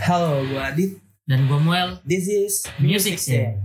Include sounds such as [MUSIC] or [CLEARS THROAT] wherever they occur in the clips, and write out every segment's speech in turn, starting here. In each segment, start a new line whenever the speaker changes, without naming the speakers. Halo, gue Adit.
Dan gue Muel,
This is
Music ya. Scene.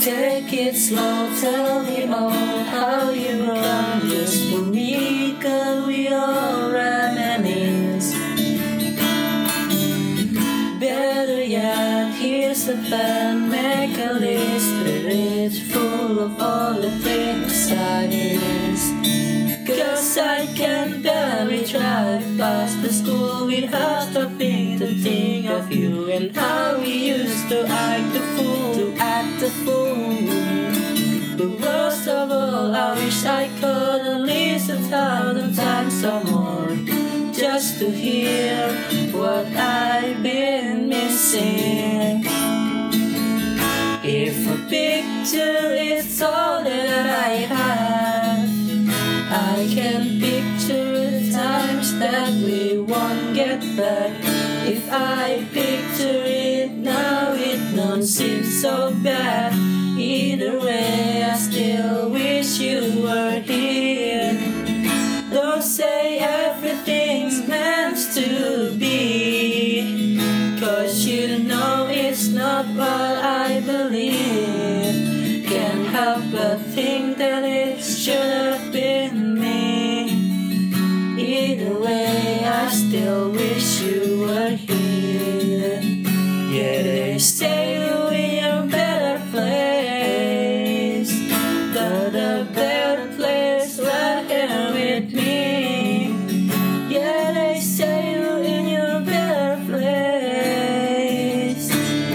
Take it slow, tell me all how you run. Just for me, can we all reminisce? Better yet, here's the pen, make a list. It's full of all the things I miss. Cause I can barely drive past the school without stopping to think of you and how we used to act the fool, to act the fool. But worst of all, I wish I could at least a thousand times or more just to hear what I've been missing. If a picture is all that I have. I can picture the times that we won't get back. If I picture it now, it don't seem so bad. Either way, I still wish you were here. Don't say everything's meant to be. Cause you know it's not what I believe. Can't help but think that it should have been me. Either way, I still wish you were here. Yeah, they say you're in a better place. But a better place right here with me. Yeah, they say you're in your better place.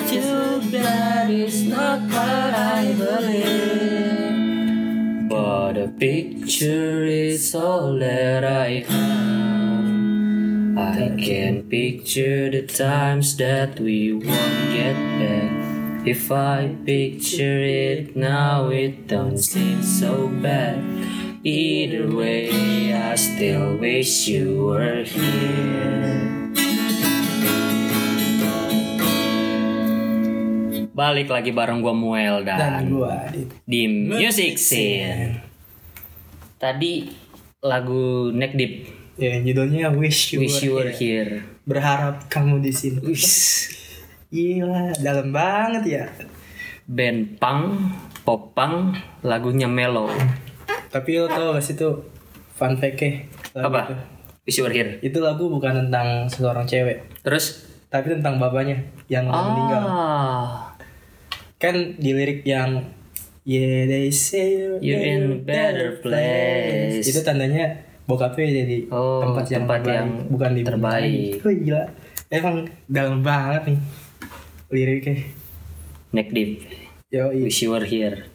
Too bad it's not what I believe. But a picture is all that I have. I can picture the times that we won't get back. If I picture it now, it don't seem so bad. Either way, I still wish you were here.
Balik lagi bareng gue Muel
Dan
dan,
gue Adit.
di Music Scene. Tadi lagu Neck Deep,
Ya, judulnya Wish You,
Wish You Were
Here.
Here.
Berharap kamu di sini.
Wis,
Gila, dalam banget ya.
Band punk, pop punk, lagunya mellow.
Tapi lo tau gak sih tuh fun fact-nya? lagu itu?
Apa? Wish You Were Here.
Itu lagu bukan tentang seorang cewek,
Terus?
tapi tentang bapaknya yang udah meninggal.
Ah,
Kan di lirik yang Yeah, they say you're,
You're in a better place.
Itu tandanya bokapnya jadi
Oh,
tempat yang
tempat
terbaik,
yang
bukan di
terbaik.
Oh, gila. Emang dalam banget nih liriknya.
Neck Deep,
Yo,
Wish You Were Here.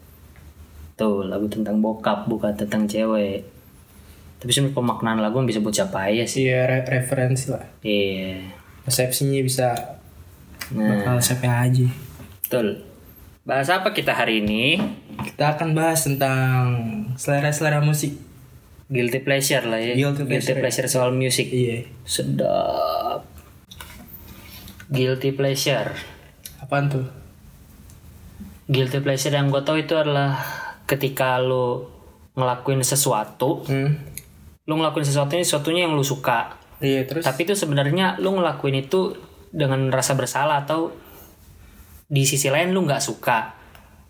Tuh, lagu tentang bokap, bukan tentang cewek. Tapi sebenarnya pemaknaan lagu bisa buat siapa aja sih.
iya re- referensi lah.
Iya.
Persepsinya bisa
Nah,
bakal siapa aja.
betul. Bahas apa kita hari ini?
Kita akan bahas tentang selera-selera musik.
Guilty pleasure lah ya.
Guilty pleasure.
soal musik.
Iya.
Sedap. Guilty pleasure.
Apaan tuh?
Guilty pleasure yang gue tau itu adalah ketika lo ngelakuin sesuatu,
Hmm.
lo ngelakuin sesuatu ini sesuatunya yang lo suka.
Iya, terus
Tapi itu sebenarnya lo ngelakuin itu dengan rasa bersalah atau di sisi lain lo nggak suka,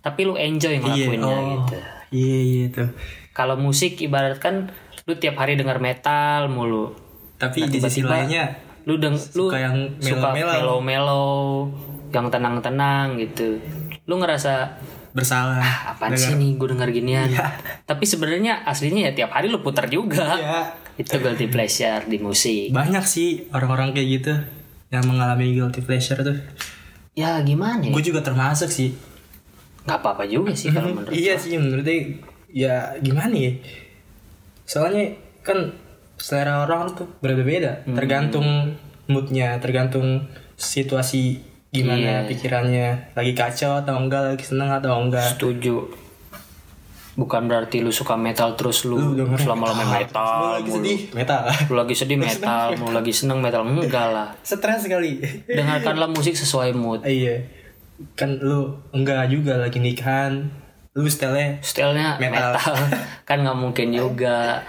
tapi lo enjoy ngelakuinnya
oh.
gitu.
Iya, iya tuh.
Kalau musik ibaratkan lu tiap hari denger metal mulu.
Tapi
Nah,
di sisi
tiba-tiba
lainnya
Lu deng lu
Suka yang
suka
melo-melo.
melo-melo, yang tenang-tenang gitu. Lu ngerasa
bersalah.
"Ah, apaan sih nih gue denger ginian. Tapi sebenarnya aslinya ya tiap hari lu putar juga.
Iya.
Itu guilty pleasure di musik.
Banyak sih orang-orang kayak gitu yang mengalami guilty pleasure tuh.
Ya gimana ya?
Gue juga termasuk sih.
Gak apa-apa juga sih kalau Oh, menurut
iya sih menurutnya ya gimana ya? Soalnya kan
Hmm.
selera orang tuh berbeda-beda, tergantung moodnya, tergantung situasi gimana
Iya.
pikirannya lagi kacau atau enggak lagi seneng atau enggak
Setuju. Bukan berarti lu suka metal terus lu,
dengerin
selama lama metal.
Lu lagi
mulu.
sedih metal [LAUGHS]
Lu lagi sedih metal, mau lagi seneng metal enggak lah.
stres sekali
Dengarkanlah musik sesuai mood.
iya kan lu enggak juga lagi nikahan lu setelnya
Stylenya metal.
Metal. [LAUGHS]
kan nggak mungkin juga.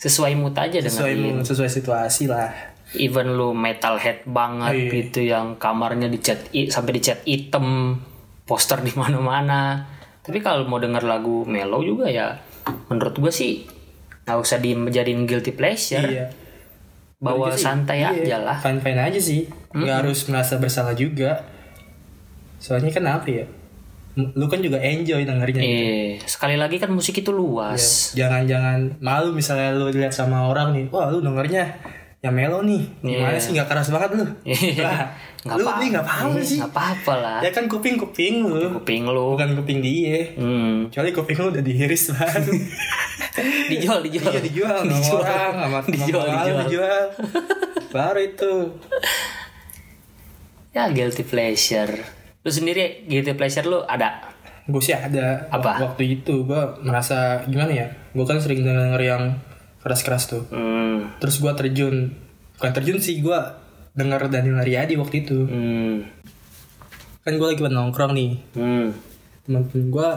Sesuai mood aja
sesuai
dengerin.
sesuai situasi lah
Even lu metalhead banget
Iya.
gitu yang kamarnya dicat i- sampai dicat hitam, poster di mana-mana. Tapi kalau mau denger lagu mellow juga ya menurut gue sih nggak usah dijadiin guilty pleasure.
iya
bawa santai aja lah
fine fine aja sih nggak harus merasa bersalah juga soalnya kan apa ya m- lu kan juga enjoy dengerinnya
eh sekali lagi kan musik itu luas
jangan-jangan malu misalnya lu dilihat sama orang nih wah lu dengernya yang melo nih gimana
Iya.
sih nggak keras banget lu Wah,
[LAUGHS]
Iya.
Nggak
lu
apa-
nih nggak paham
eh,
sih
nggak apa-apa lah
ya kan kuping kuping lu
kuping lu
bukan kuping dia
hmm.
kecuali kuping lu udah dihiris banget
[LAUGHS] dijual dijual
Iya dijual
[LAUGHS]
sama orang sama sama
dijual
orang
dijual
dijual baru itu
ya guilty pleasure lu sendiri guilty pleasure lu ada
gue sih ada
Apa?
waktu itu gue merasa gimana ya gue kan sering denger yang keras-keras tuh
hmm.
terus gue terjun bukan terjun sih gue denger Daniel Riyadi waktu itu
hmm
kan gue lagi pada nongkrong nih
hmm [LAUGHS]
teman-teman gue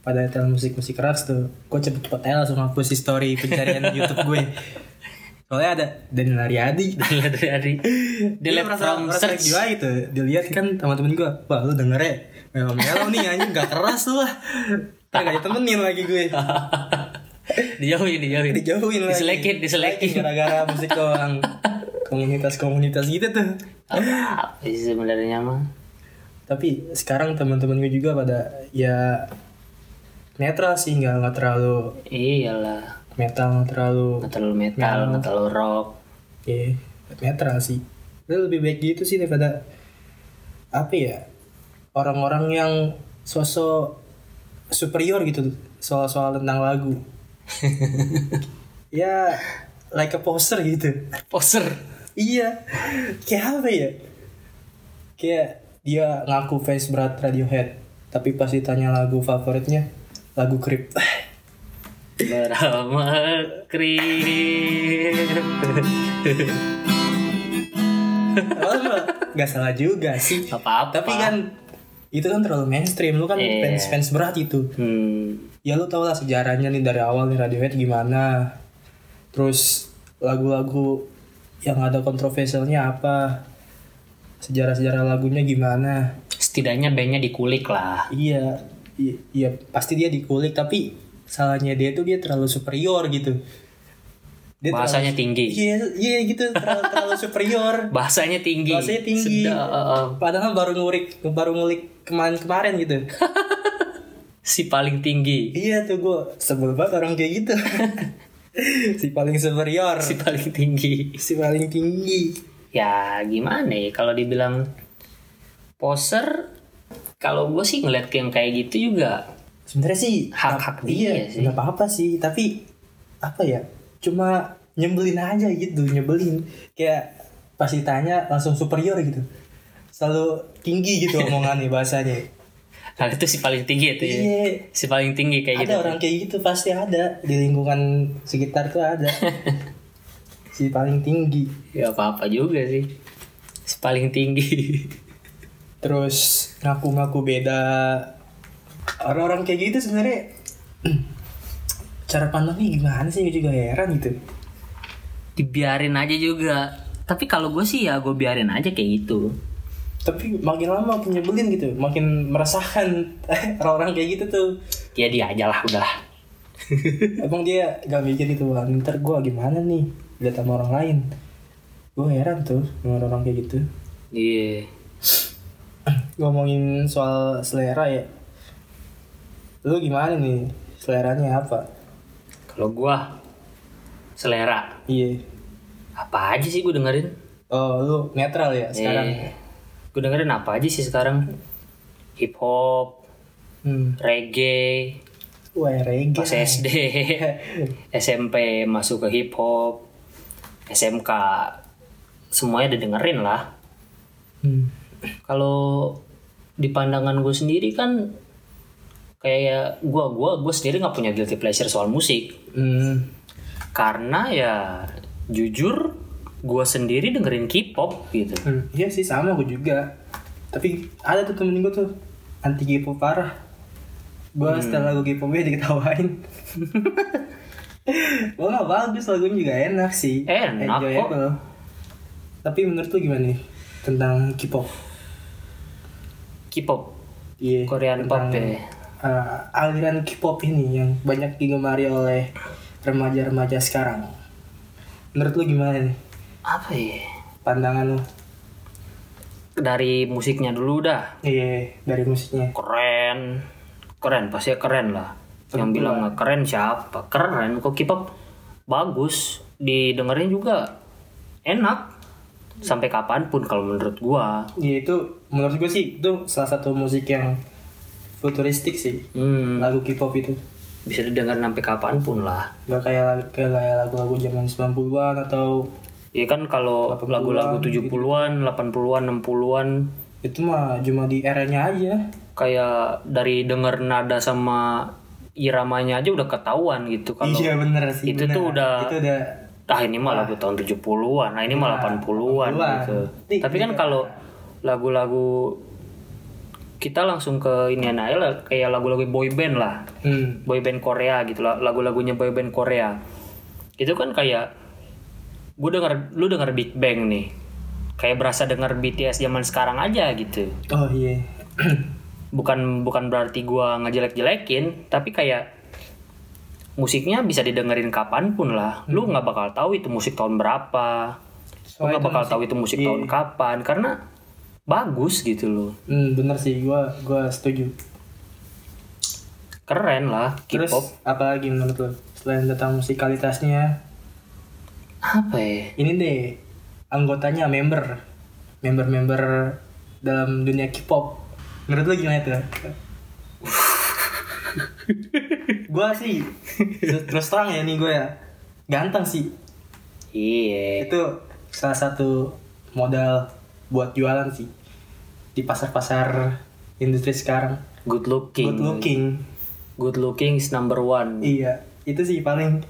pada tel musik musik keras tuh gue cepet-cepet tel sama hapus history
[LAUGHS]
pencarian YouTube gue soalnya ada Daniel Riyadi
dari dari
Iya,
delete from search
gila itu dilihat kan teman-teman gue wah lu denger ya memang melo nih anjing gak keras lu lah Ntar gak ditemenin lagi
[LAUGHS]
gue
[LAUGHS] dijauhin dijauhin
dijauhin lagi
diselekin diselekin
gara-gara musik doang komunitas-komunitas gitu tuh
apa sih sebenarnya mah
tapi sekarang teman-teman gue juga pada ya netral sih nggak nggak terlalu
iyalah
metal nggak terlalu
nggak terlalu metal
Iya.
nggak terlalu rock
ya netral sih Lu lebih baik gitu sih daripada apa ya orang-orang yang sosok superior gitu soal-soal tentang lagu ya like a poster gitu
poser
iya kayak apa ya kayak dia ngaku fans berat Radiohead tapi pas ditanya lagu favoritnya lagu Creep
bersama Krip
Oh, nggak salah juga sih
apa-apa
tapi kan itu kan terlalu mainstream lu kan
Iya.
fans fans berat itu
[LAUGHS] hmm,
ya lu tau lah sejarahnya nih dari awal nih Radiohead gimana terus lagu-lagu yang ada kontroversialnya apa sejarah-sejarah lagunya gimana
setidaknya bandnya dikulik lah
Iya, i- iya pasti dia dikulik tapi salahnya dia tuh dia terlalu superior gitu. Dia
bahasanya
terlalu-
tinggi
Iya, iya gitu terlalu, terlalu
[LAUGHS]
superior.
bahasanya tinggi
Bahasanya tinggi.
Sedap. eh,
Padahal baru ngulik baru ngulik kemarin kemarin gitu.
si paling tinggi [LAUGHS]
iya tuh gue sebel banget orang kayak gitu. [LAUGHS] si paling superior,
si paling tinggi
si paling tinggi.
ya gimana ya kalau dibilang poser kalau gue sih ngeliat yang kayak gitu juga
Sebenarnya sih
Hak-hak dia
iya,
sih.
nggak apa-apa sih, tapi apa ya? Cuma nyebelin aja gitu, nyebelin. Kayak pas ditanya langsung superior gitu. Selalu tinggi gitu omongannya bahasanya.
nah itu si paling tinggi itu ya
Iya.
si paling tinggi kayak
Ada
gitu
orang kayak gitu pasti ada di lingkungan sekitar tuh
[LAUGHS]
ada. si paling tinggi.
ya apa-apa juga sih si paling tinggi [LAUGHS]
Terus ngaku-ngaku beda. Orang-orang kayak gitu sebenarnya [CLEARS THROAT] cara pandangnya gimana sih gue juga heran gitu.
dibiarin aja juga tapi kalau gue sih ya gue biarin aja kayak gitu
tapi makin lama makin nyebelin gitu makin meresahkan [LAUGHS] orang-orang kayak gitu tuh
ya dia aja lah udahlah
[LAUGHS] emang dia gak mikir gitu wah ntar gue gimana nih lihat sama orang lain gue heran tuh sama orang-orang kayak gitu
iya
ngomongin soal selera ya lu gimana nih seleranya apa
kalau gue selera
iya
apa aja sih gue dengerin
oh lu netral ya sekarang
Iya. gue dengerin apa aja sih sekarang hip hop
hmm.
reggae
wah reggae
pas [LAUGHS] SD SMP masuk ke hip hop SMK semuanya udah dengerin lah
hmm.
kalau di pandangan gue sendiri kan kayak gue gue gue sendiri nggak punya guilty pleasure soal musik
Hmm,
karena ya jujur gue sendiri dengerin K-pop gitu
hmm. Iya sih sama gue juga. Tapi ada tuh temen gue tuh anti K-pop parah. Gue
Hmm.
setelah lagu K-pop dia diketawain. [LAUGHS] Gue nggak bagus lagunya juga enak sih.
Enak kok.
Enjoyable. Tapi menurut lu gimana nih tentang K-pop?
K-pop
Iya.
Korean pop
tentang,
ya
eh, aliran K-pop ini yang banyak digemari oleh remaja-remaja sekarang. Menurut lu gimana nih
apa ya
pandangan lu?
dari musiknya dulu dah
Iya, dari musiknya.
keren keren pasti keren lah yang bilang nggak keren siapa keren kok K-pop bagus didengerin juga enak sampai kapanpun kalau menurut gua
Iya itu menurut gue sih itu salah satu musik yang futuristik sih
hmm,
lagu K-pop itu
bisa didengar sampai kapanpun lah
gak kayak lagu- kayak lagu-lagu zaman 90-an atau
ya kan kalau lagu-lagu 70-an 80-an 60-an
itu mah cuma di eranya aja
kayak dari denger nada sama iramanya aja udah ketahuan gitu kalau
iya bener sih
itu
bener.
tuh udah
itu udah
ah ini mah lagu tahun 70-an, nah ini mah 80-an
80-an.
gitu.
Nih,
Tapi kan kalau lagu-lagu kita langsung ke ini aja lah, kayak lagu-lagu boy band lah.
hmm,
Boy band Korea gitu lah, lagu-lagunya boy band Korea. Itu kan kayak gue denger lu denger Big Bang nih. Kayak berasa denger BTS zaman sekarang aja gitu.
oh iya
Bukan bukan berarti gua ngejelek-jelekin, tapi kayak musiknya bisa didengerin kapanpun lah. Lu
Hmm.
nggak bakal tahu itu musik tahun berapa. Lu
Soalnya
nggak
itu
bakal
musik-
tahu itu musik
iya.
tahun kapan karena bagus gitu loh.
hmm, bener sih gue gua setuju
Keren lah
terus
K-pop.
apa lagi menurut lo selain tentang musikalitasnya
Apa ya?
ini deh anggotanya member member-member dalam dunia K-pop menurut lu gimana itu gua sih terus terang ya nih gue ya ganteng sih
Iya.
itu salah satu modal buat jualan sih di pasar-pasar industri sekarang
Good looking.
good looking
Good looking is number one.
iya itu sih paling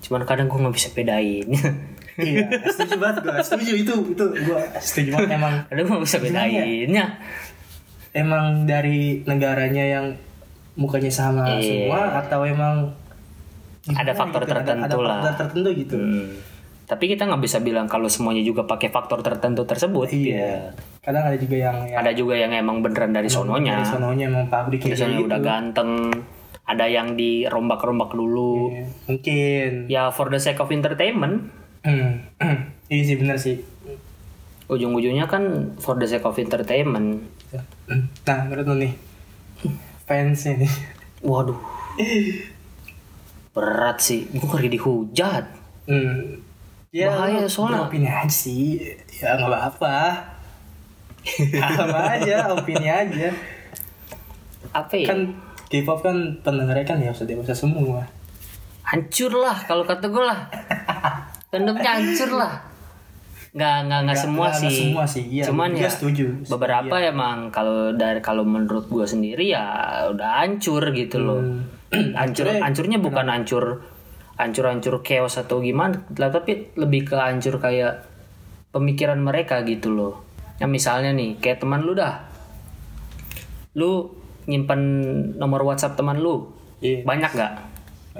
Cuman kadang gue nggak bisa bedain. [LAUGHS]
iya setuju banget gue setuju itu itu gue setuju banget emang
kadang gue nggak bisa
Gimana ya?
bedainnya.
emang dari negaranya yang mukanya sama
Iya.
semua atau emang gimana
Ada faktor tertentu
gitu kan, ada, ada
lah.
faktor tertentu gitu
Hmm. Tapi kita nggak bisa bilang kalau semuanya juga pakai faktor tertentu tersebut.
iya kadang ada juga yang, yang
Ada juga yang emang beneran dari sononya.
dari sononya emang pabrik kayak
Misalnya
gitu
udah ganteng. Ada yang dirombak-rombak dulu.
Iya, mungkin
Ya for the sake of entertainment.
Hmm. [CLEARS THROAT] iya sih benar sih
Ujung-ujungnya kan for the sake of entertainment.
nah menurut lu nih fansnya nih
Waduh. Berat sih. Gue ngeri dihujat.
hmm. Ya, lu
Bahaya, soalnya.
beropini aja sih ya nggak apa-apa [LAUGHS] apa aja opini aja
Apa ya?
kan K-pop kan pendengarnya kan ya sudah dewasa semua
hancur lah kalau kata gue lah fandom-nya hancur lah nggak nggak nggak semua
nggak
sih
semua sih, iya,
cuman
gua
ya
setuju. iya.
beberapa emang kalau dari kalau menurut gue sendiri ya udah hancur gitu loh
Hmm.
[CLEARS THROAT] hancur
Hancurnya-
hancurnya bukan hancur hancur hancur chaos atau gimana lah, tapi lebih ke hancur kayak pemikiran mereka gitu loh ya misalnya nih kayak teman lu dah lu nyimpan nomor WhatsApp teman lu
iya
banyak nggak?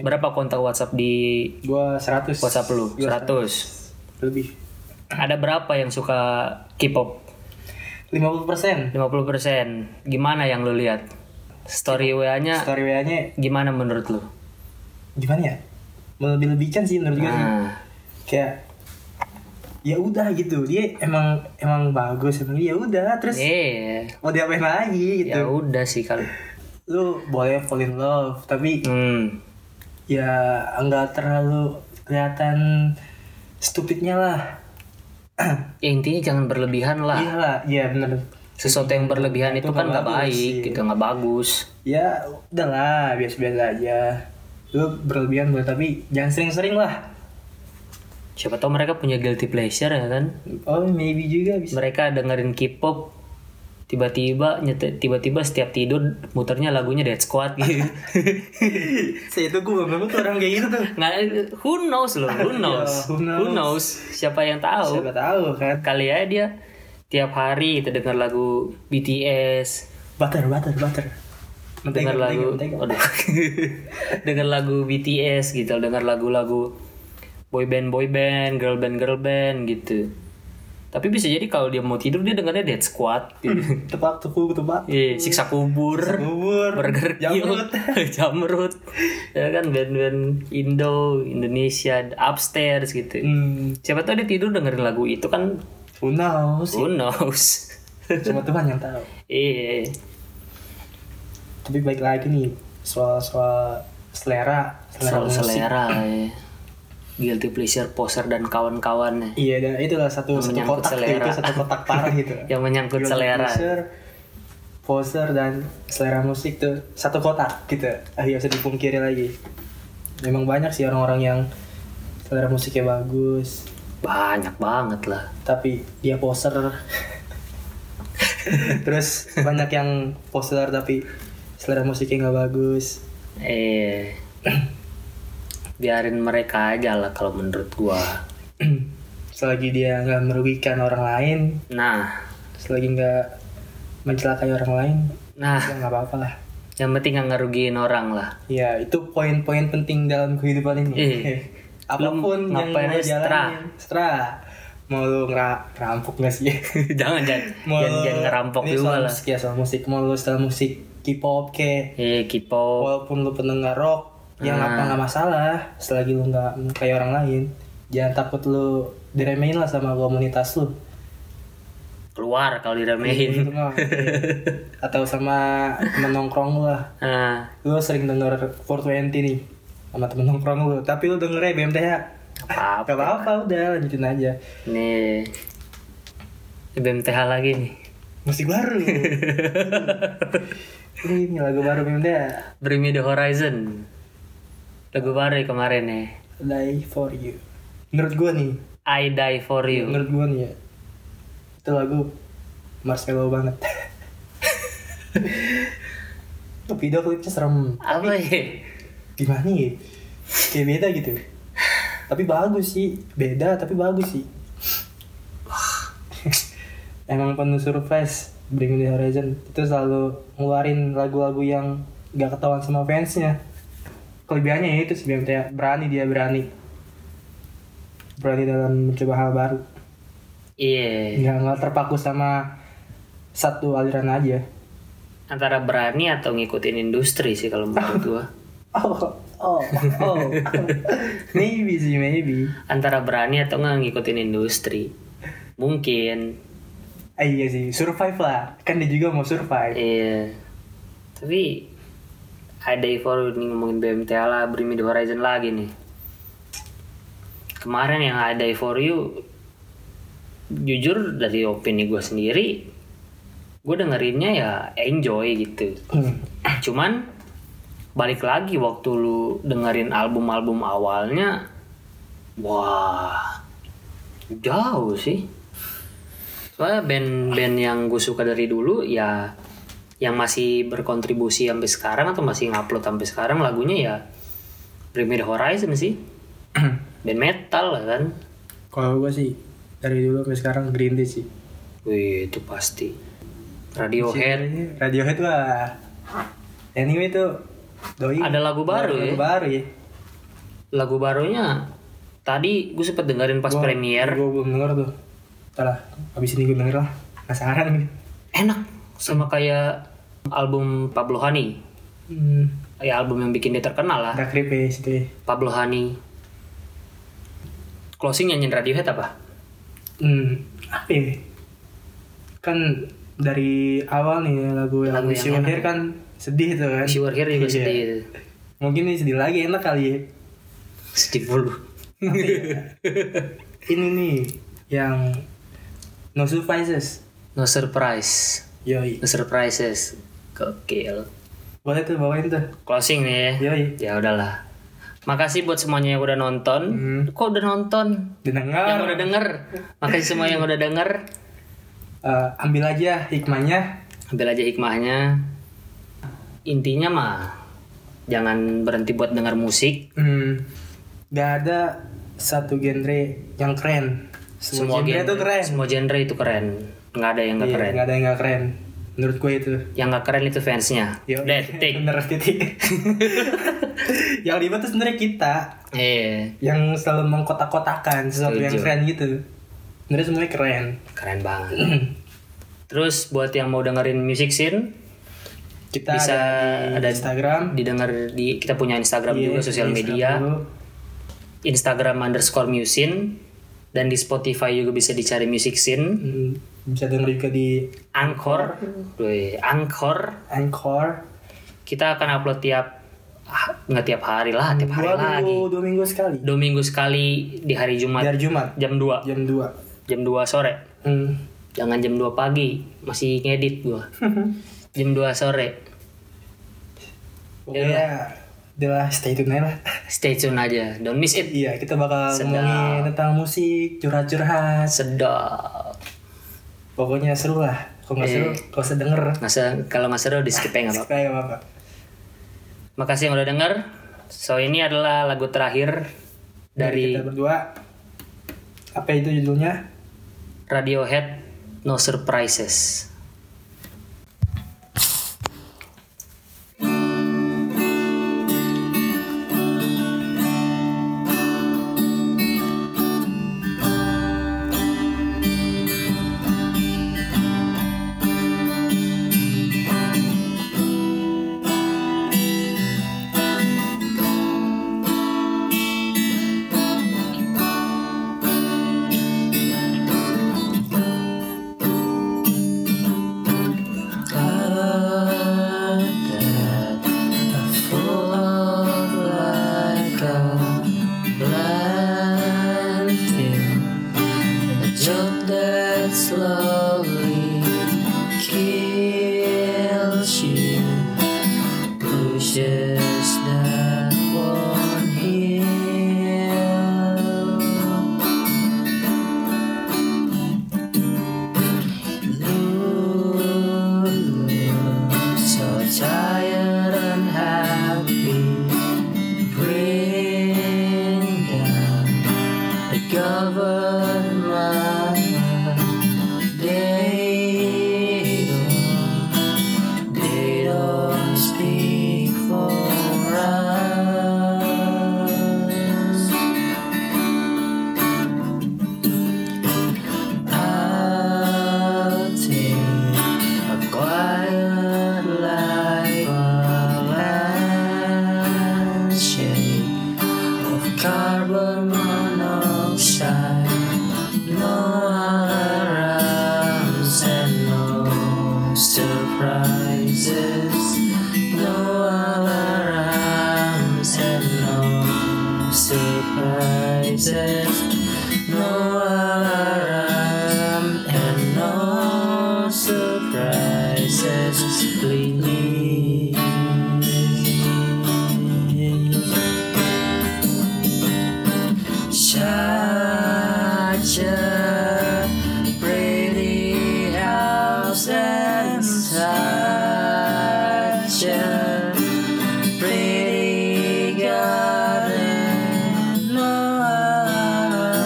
Berapa kontak WhatsApp di
gua 100
WhatsApp lu?
Iya.
100.
lebih
Ada berapa yang suka K-pop?
50%
50%. Gimana yang lu lihat? Story WA-nya
story WA nya
gimana menurut lu?
gimana ya melebih-lebihkan sih menurut gue sih
Nah,
kayak ya udah gitu dia emang emang bagus emang ya udah terus
iya.
mau diapain lagi
Ya
gitu
udah sih kalau.
lu boleh fall in love tapi
Hmm.
ya nggak terlalu kelihatan stupidnya lah
Ya intinya jangan berlebihan lah.
iya lah iya bener
Sesuatu yang berlebihan
Itu
itu, kan
nggak
nggak
bagus,
baik,
iya.
gitu nggak bagus.
ya udahlah biasa-biasa aja lu berlebihan boleh tapi jangan sering-sering lah
siapa tahu mereka punya guilty pleasure ya kan
oh maybe juga bisa
mereka dengerin K-pop tiba-tiba nyet- tiba-tiba setiap tidur muternya lagunya Dead Squad
Iya.
gitu
[LAUGHS] saya itu gue memang tuh orang kayak gitu tuh
nggak Nah, who knows loh who knows
Iya, who
who
knows.
knows, siapa yang tahu
siapa tahu kan
kali aja dia tiap hari itu dengar lagu BTS
butter butter butter mentega
dengar
mentega
lagu
mentega
aduh. [LAUGHS] dengar lagu BTS gitu dengar lagu-lagu boy band boy band girl band girl band gitu tapi bisa jadi kalau dia mau tidur dia dengarnya Dead Squad gitu.
tepak tepuk tepak
Iya, siksa kubur,
Hmm. kubur,
burger Kill,
jamrut.
[LAUGHS] jamrut, ya kan band-band Indo, Indonesia, upstairs gitu.
hmm
Siapa tahu dia tidur dengerin lagu itu kan,
who [LAUGHS] knows
who knows? [LAUGHS]
cuma Tuhan yang tahu
Iya,
tapi baik lagi nih soal soal selera selera,
soal
musik.
selera, ya. guilty pleasure poser dan kawan-kawannya.
iya dan itulah satu
Yang
satu
menyangkut
kotak tuh,
selera.
itu satu kotak parah gitu
[LAUGHS] Yang menyangkut
Guilty
selera.
pleasure, poser dan selera musik tuh satu kotak gitu ah nggak bisa dipungkiri lagi memang banyak sih orang-orang yang selera musiknya bagus
Banyak banget lah.
tapi dia poser [LAUGHS] terus banyak yang poser tapi selera musiknya nggak bagus
Eh, biarin mereka aja lah kalau menurut gua.
selagi dia nggak merugikan orang lain
Nah,
selagi nggak mencelakai orang lain
nah,
ya nggak apa-apa lah
yang penting nggak ngerugiin orang
[LAUGHS]
lah.
ya itu poin-poin penting dalam kehidupan ini
Iya.
[LAUGHS] apapun
Lu
yang
ngapain
mau
aja stra.
jalanin stra mau lu ngera rampok nggak sih [LAUGHS]
jangan jangan
mau
jangan, jangan ngerampok
Ini
juga
soal
lah
musik ya soal musik mau lu style musik K-pop ke
eh kipo
walaupun lu pendengar rock yang
Hmm.
apa nggak masalah selagi lu nggak melukai orang lain jangan takut lu diremehin lah sama komunitas lu
keluar kalau
[LAUGHS]
diramein
Gitu
[LAUGHS]
mah. atau sama temen nongkrong lu lah
nah
lu sering denger 420 nih sama temen nongkrong lu tapi lu ya, dengernya BMTH
apa
gak apa-apa udah lanjutin aja
nih BMTH lagi nih
musik baru ini lagu baru ya? BMTH
Bring Me The Horizon lagu baru ya kemarin nih
Die For You menurut gua nih
I Die For You
menurut gua nih ya itu lagu marshmallow banget video klipnya serem
apa ya
gimana ya kayak beda gitu tapi bagus sih beda tapi bagus sih [LAUGHS] emang penuh surprise Bring Me The Horizon itu selalu ngeluarin lagu-lagu yang gak ketahuan sama fansnya kelebihannya ya itu sih BMT berani dia berani berani dalam mencoba hal baru
iya
nggak nggak terpaku sama satu aliran aja
antara berani atau ngikutin industri sih kalau menurut gua
oh oh oh [LAUGHS] maybe sih maybe
antara berani atau nggak ngikutin industri mungkin
Ah, iya sih, survive lah. Kan dia juga mau survive.
Iya. Tapi ada Ivor nih ngomongin BMTA lah, Bring Me The Horizon lagi nih. Kemarin yang ada for you, jujur dari opini gue sendiri, gue dengerinnya ya enjoy gitu.
Hmm.
Cuman balik lagi waktu lu dengerin album-album awalnya, wah jauh sih. Soalnya band-band yang gue suka dari dulu ya yang masih berkontribusi sampai sekarang atau masih ngupload sampai sekarang lagunya ya Bring Me The Horizon sih. band metal lah kan.
Kalau gue sih dari dulu sampai sekarang Green Day sih.
Wih itu pasti.
Iya.
Radiohead
Radiohead lah. Anyway tuh doi
Ada lagu baru
Ada Lagu
ya?
baru ya.
lagu barunya tadi gue sempet dengerin pas premiere
Gue belum denger tuh. Ntar lah, abis ini gue denger lah. Penasaran nih.
enak sama kayak album Pablo Hani
Hmm.
ya album yang bikin dia terkenal lah
Ada krip ya situ ya.
Pablo Hani closing nyanyiin Radiohead apa
Hmm. Apa ya? Kan dari awal nih lagu yang
Lagu yang
Wish You Were
enak.
Here kan sedih tuh kan.
Wish You Were Here juga
Iya.
sedih itu.
Mungkin ini sedih lagi enak kali ya.
sedih mulu
[LAUGHS] ini nih yang no surprises
no surprise
yoi
no surprises gokil
boleh tuh bawain tuh Iya.
closing nih ya
yoi
ya udahlah Makasih buat semuanya yang udah nonton.
Hmm.
Kok udah nonton?
Dengar,
Yang udah denger. Makasih semua yang udah denger.
eh, ambil aja hikmahnya.
Ambil aja hikmahnya. Intinya mah jangan berhenti buat dengar musik.
Hmm. Gak ada satu genre yang keren. Semua, genre itu keren.
Semua genre itu keren. Nggak ada yang nggak
Iya,
keren.
Gak ada yang gak keren. Menurut gue itu.
Yang nggak keren itu fansnya.
Yo,
Dead tick.
[LAUGHS] Bener titik. yang lima tuh sebenarnya kita
Iya,
yang selalu mengkotak-kotakan sesuatu yang
Setuju.
keren gitu. Sebenarnya semuanya keren.
keren banget. Terus buat yang mau dengerin music scene
Kita
Bisa
ada, di
ada-
Instagram,
didengar di kita punya Instagram
Iya,
juga sosial
Instagram
media.
dulu.
Instagram underscore musin dan di Spotify juga bisa dicari music scene
Hmm, Bisa denger juga di
Anchor Wih, Anchor
Anchor.
kita akan upload tiap ah, nggak tiap hari lah tiap hari
Dua
lagi
minggu, dua minggu sekali.
dua minggu sekali di hari Jumat
Dari Jumat
jam 2
jam 2
jam 2 sore
Hmm.
jangan jam 2 pagi masih ngedit gua
[LAUGHS]
jam 2 sore Iya.
Pokoknya adalah stay tune aja lah.
stay tune aja don't miss it
[LAUGHS] Iya, kita bakal
Sedap.
ngomongin tentang musik, curhat-curhat.
sedap
Pokoknya seru lah. Kalau nggak
Iya.
seru, kalau usah denger.
nggak se- kalau nggak seru di skip aja nggak apa-apa
Kayak nggak apa-apa.
Makasih yang udah denger. So ini adalah lagu terakhir dari
kita berdua. Apa itu judulnya?
Radiohead No Surprises.
Slowly kills you, pushes that one hill. So tired and happy, bring down the government. They don't, they don't speak for us. I'll take a quiet life, a landscape of carbon monoxide, no alarms and no surprises, no alarms and no surprises. No alarm and no surprises, please. Such a pretty house and such a pretty garden. No other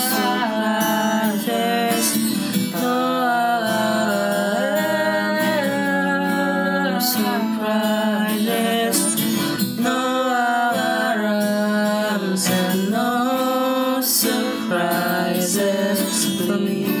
surprises. No other surprises. No alarms and no surprises for me.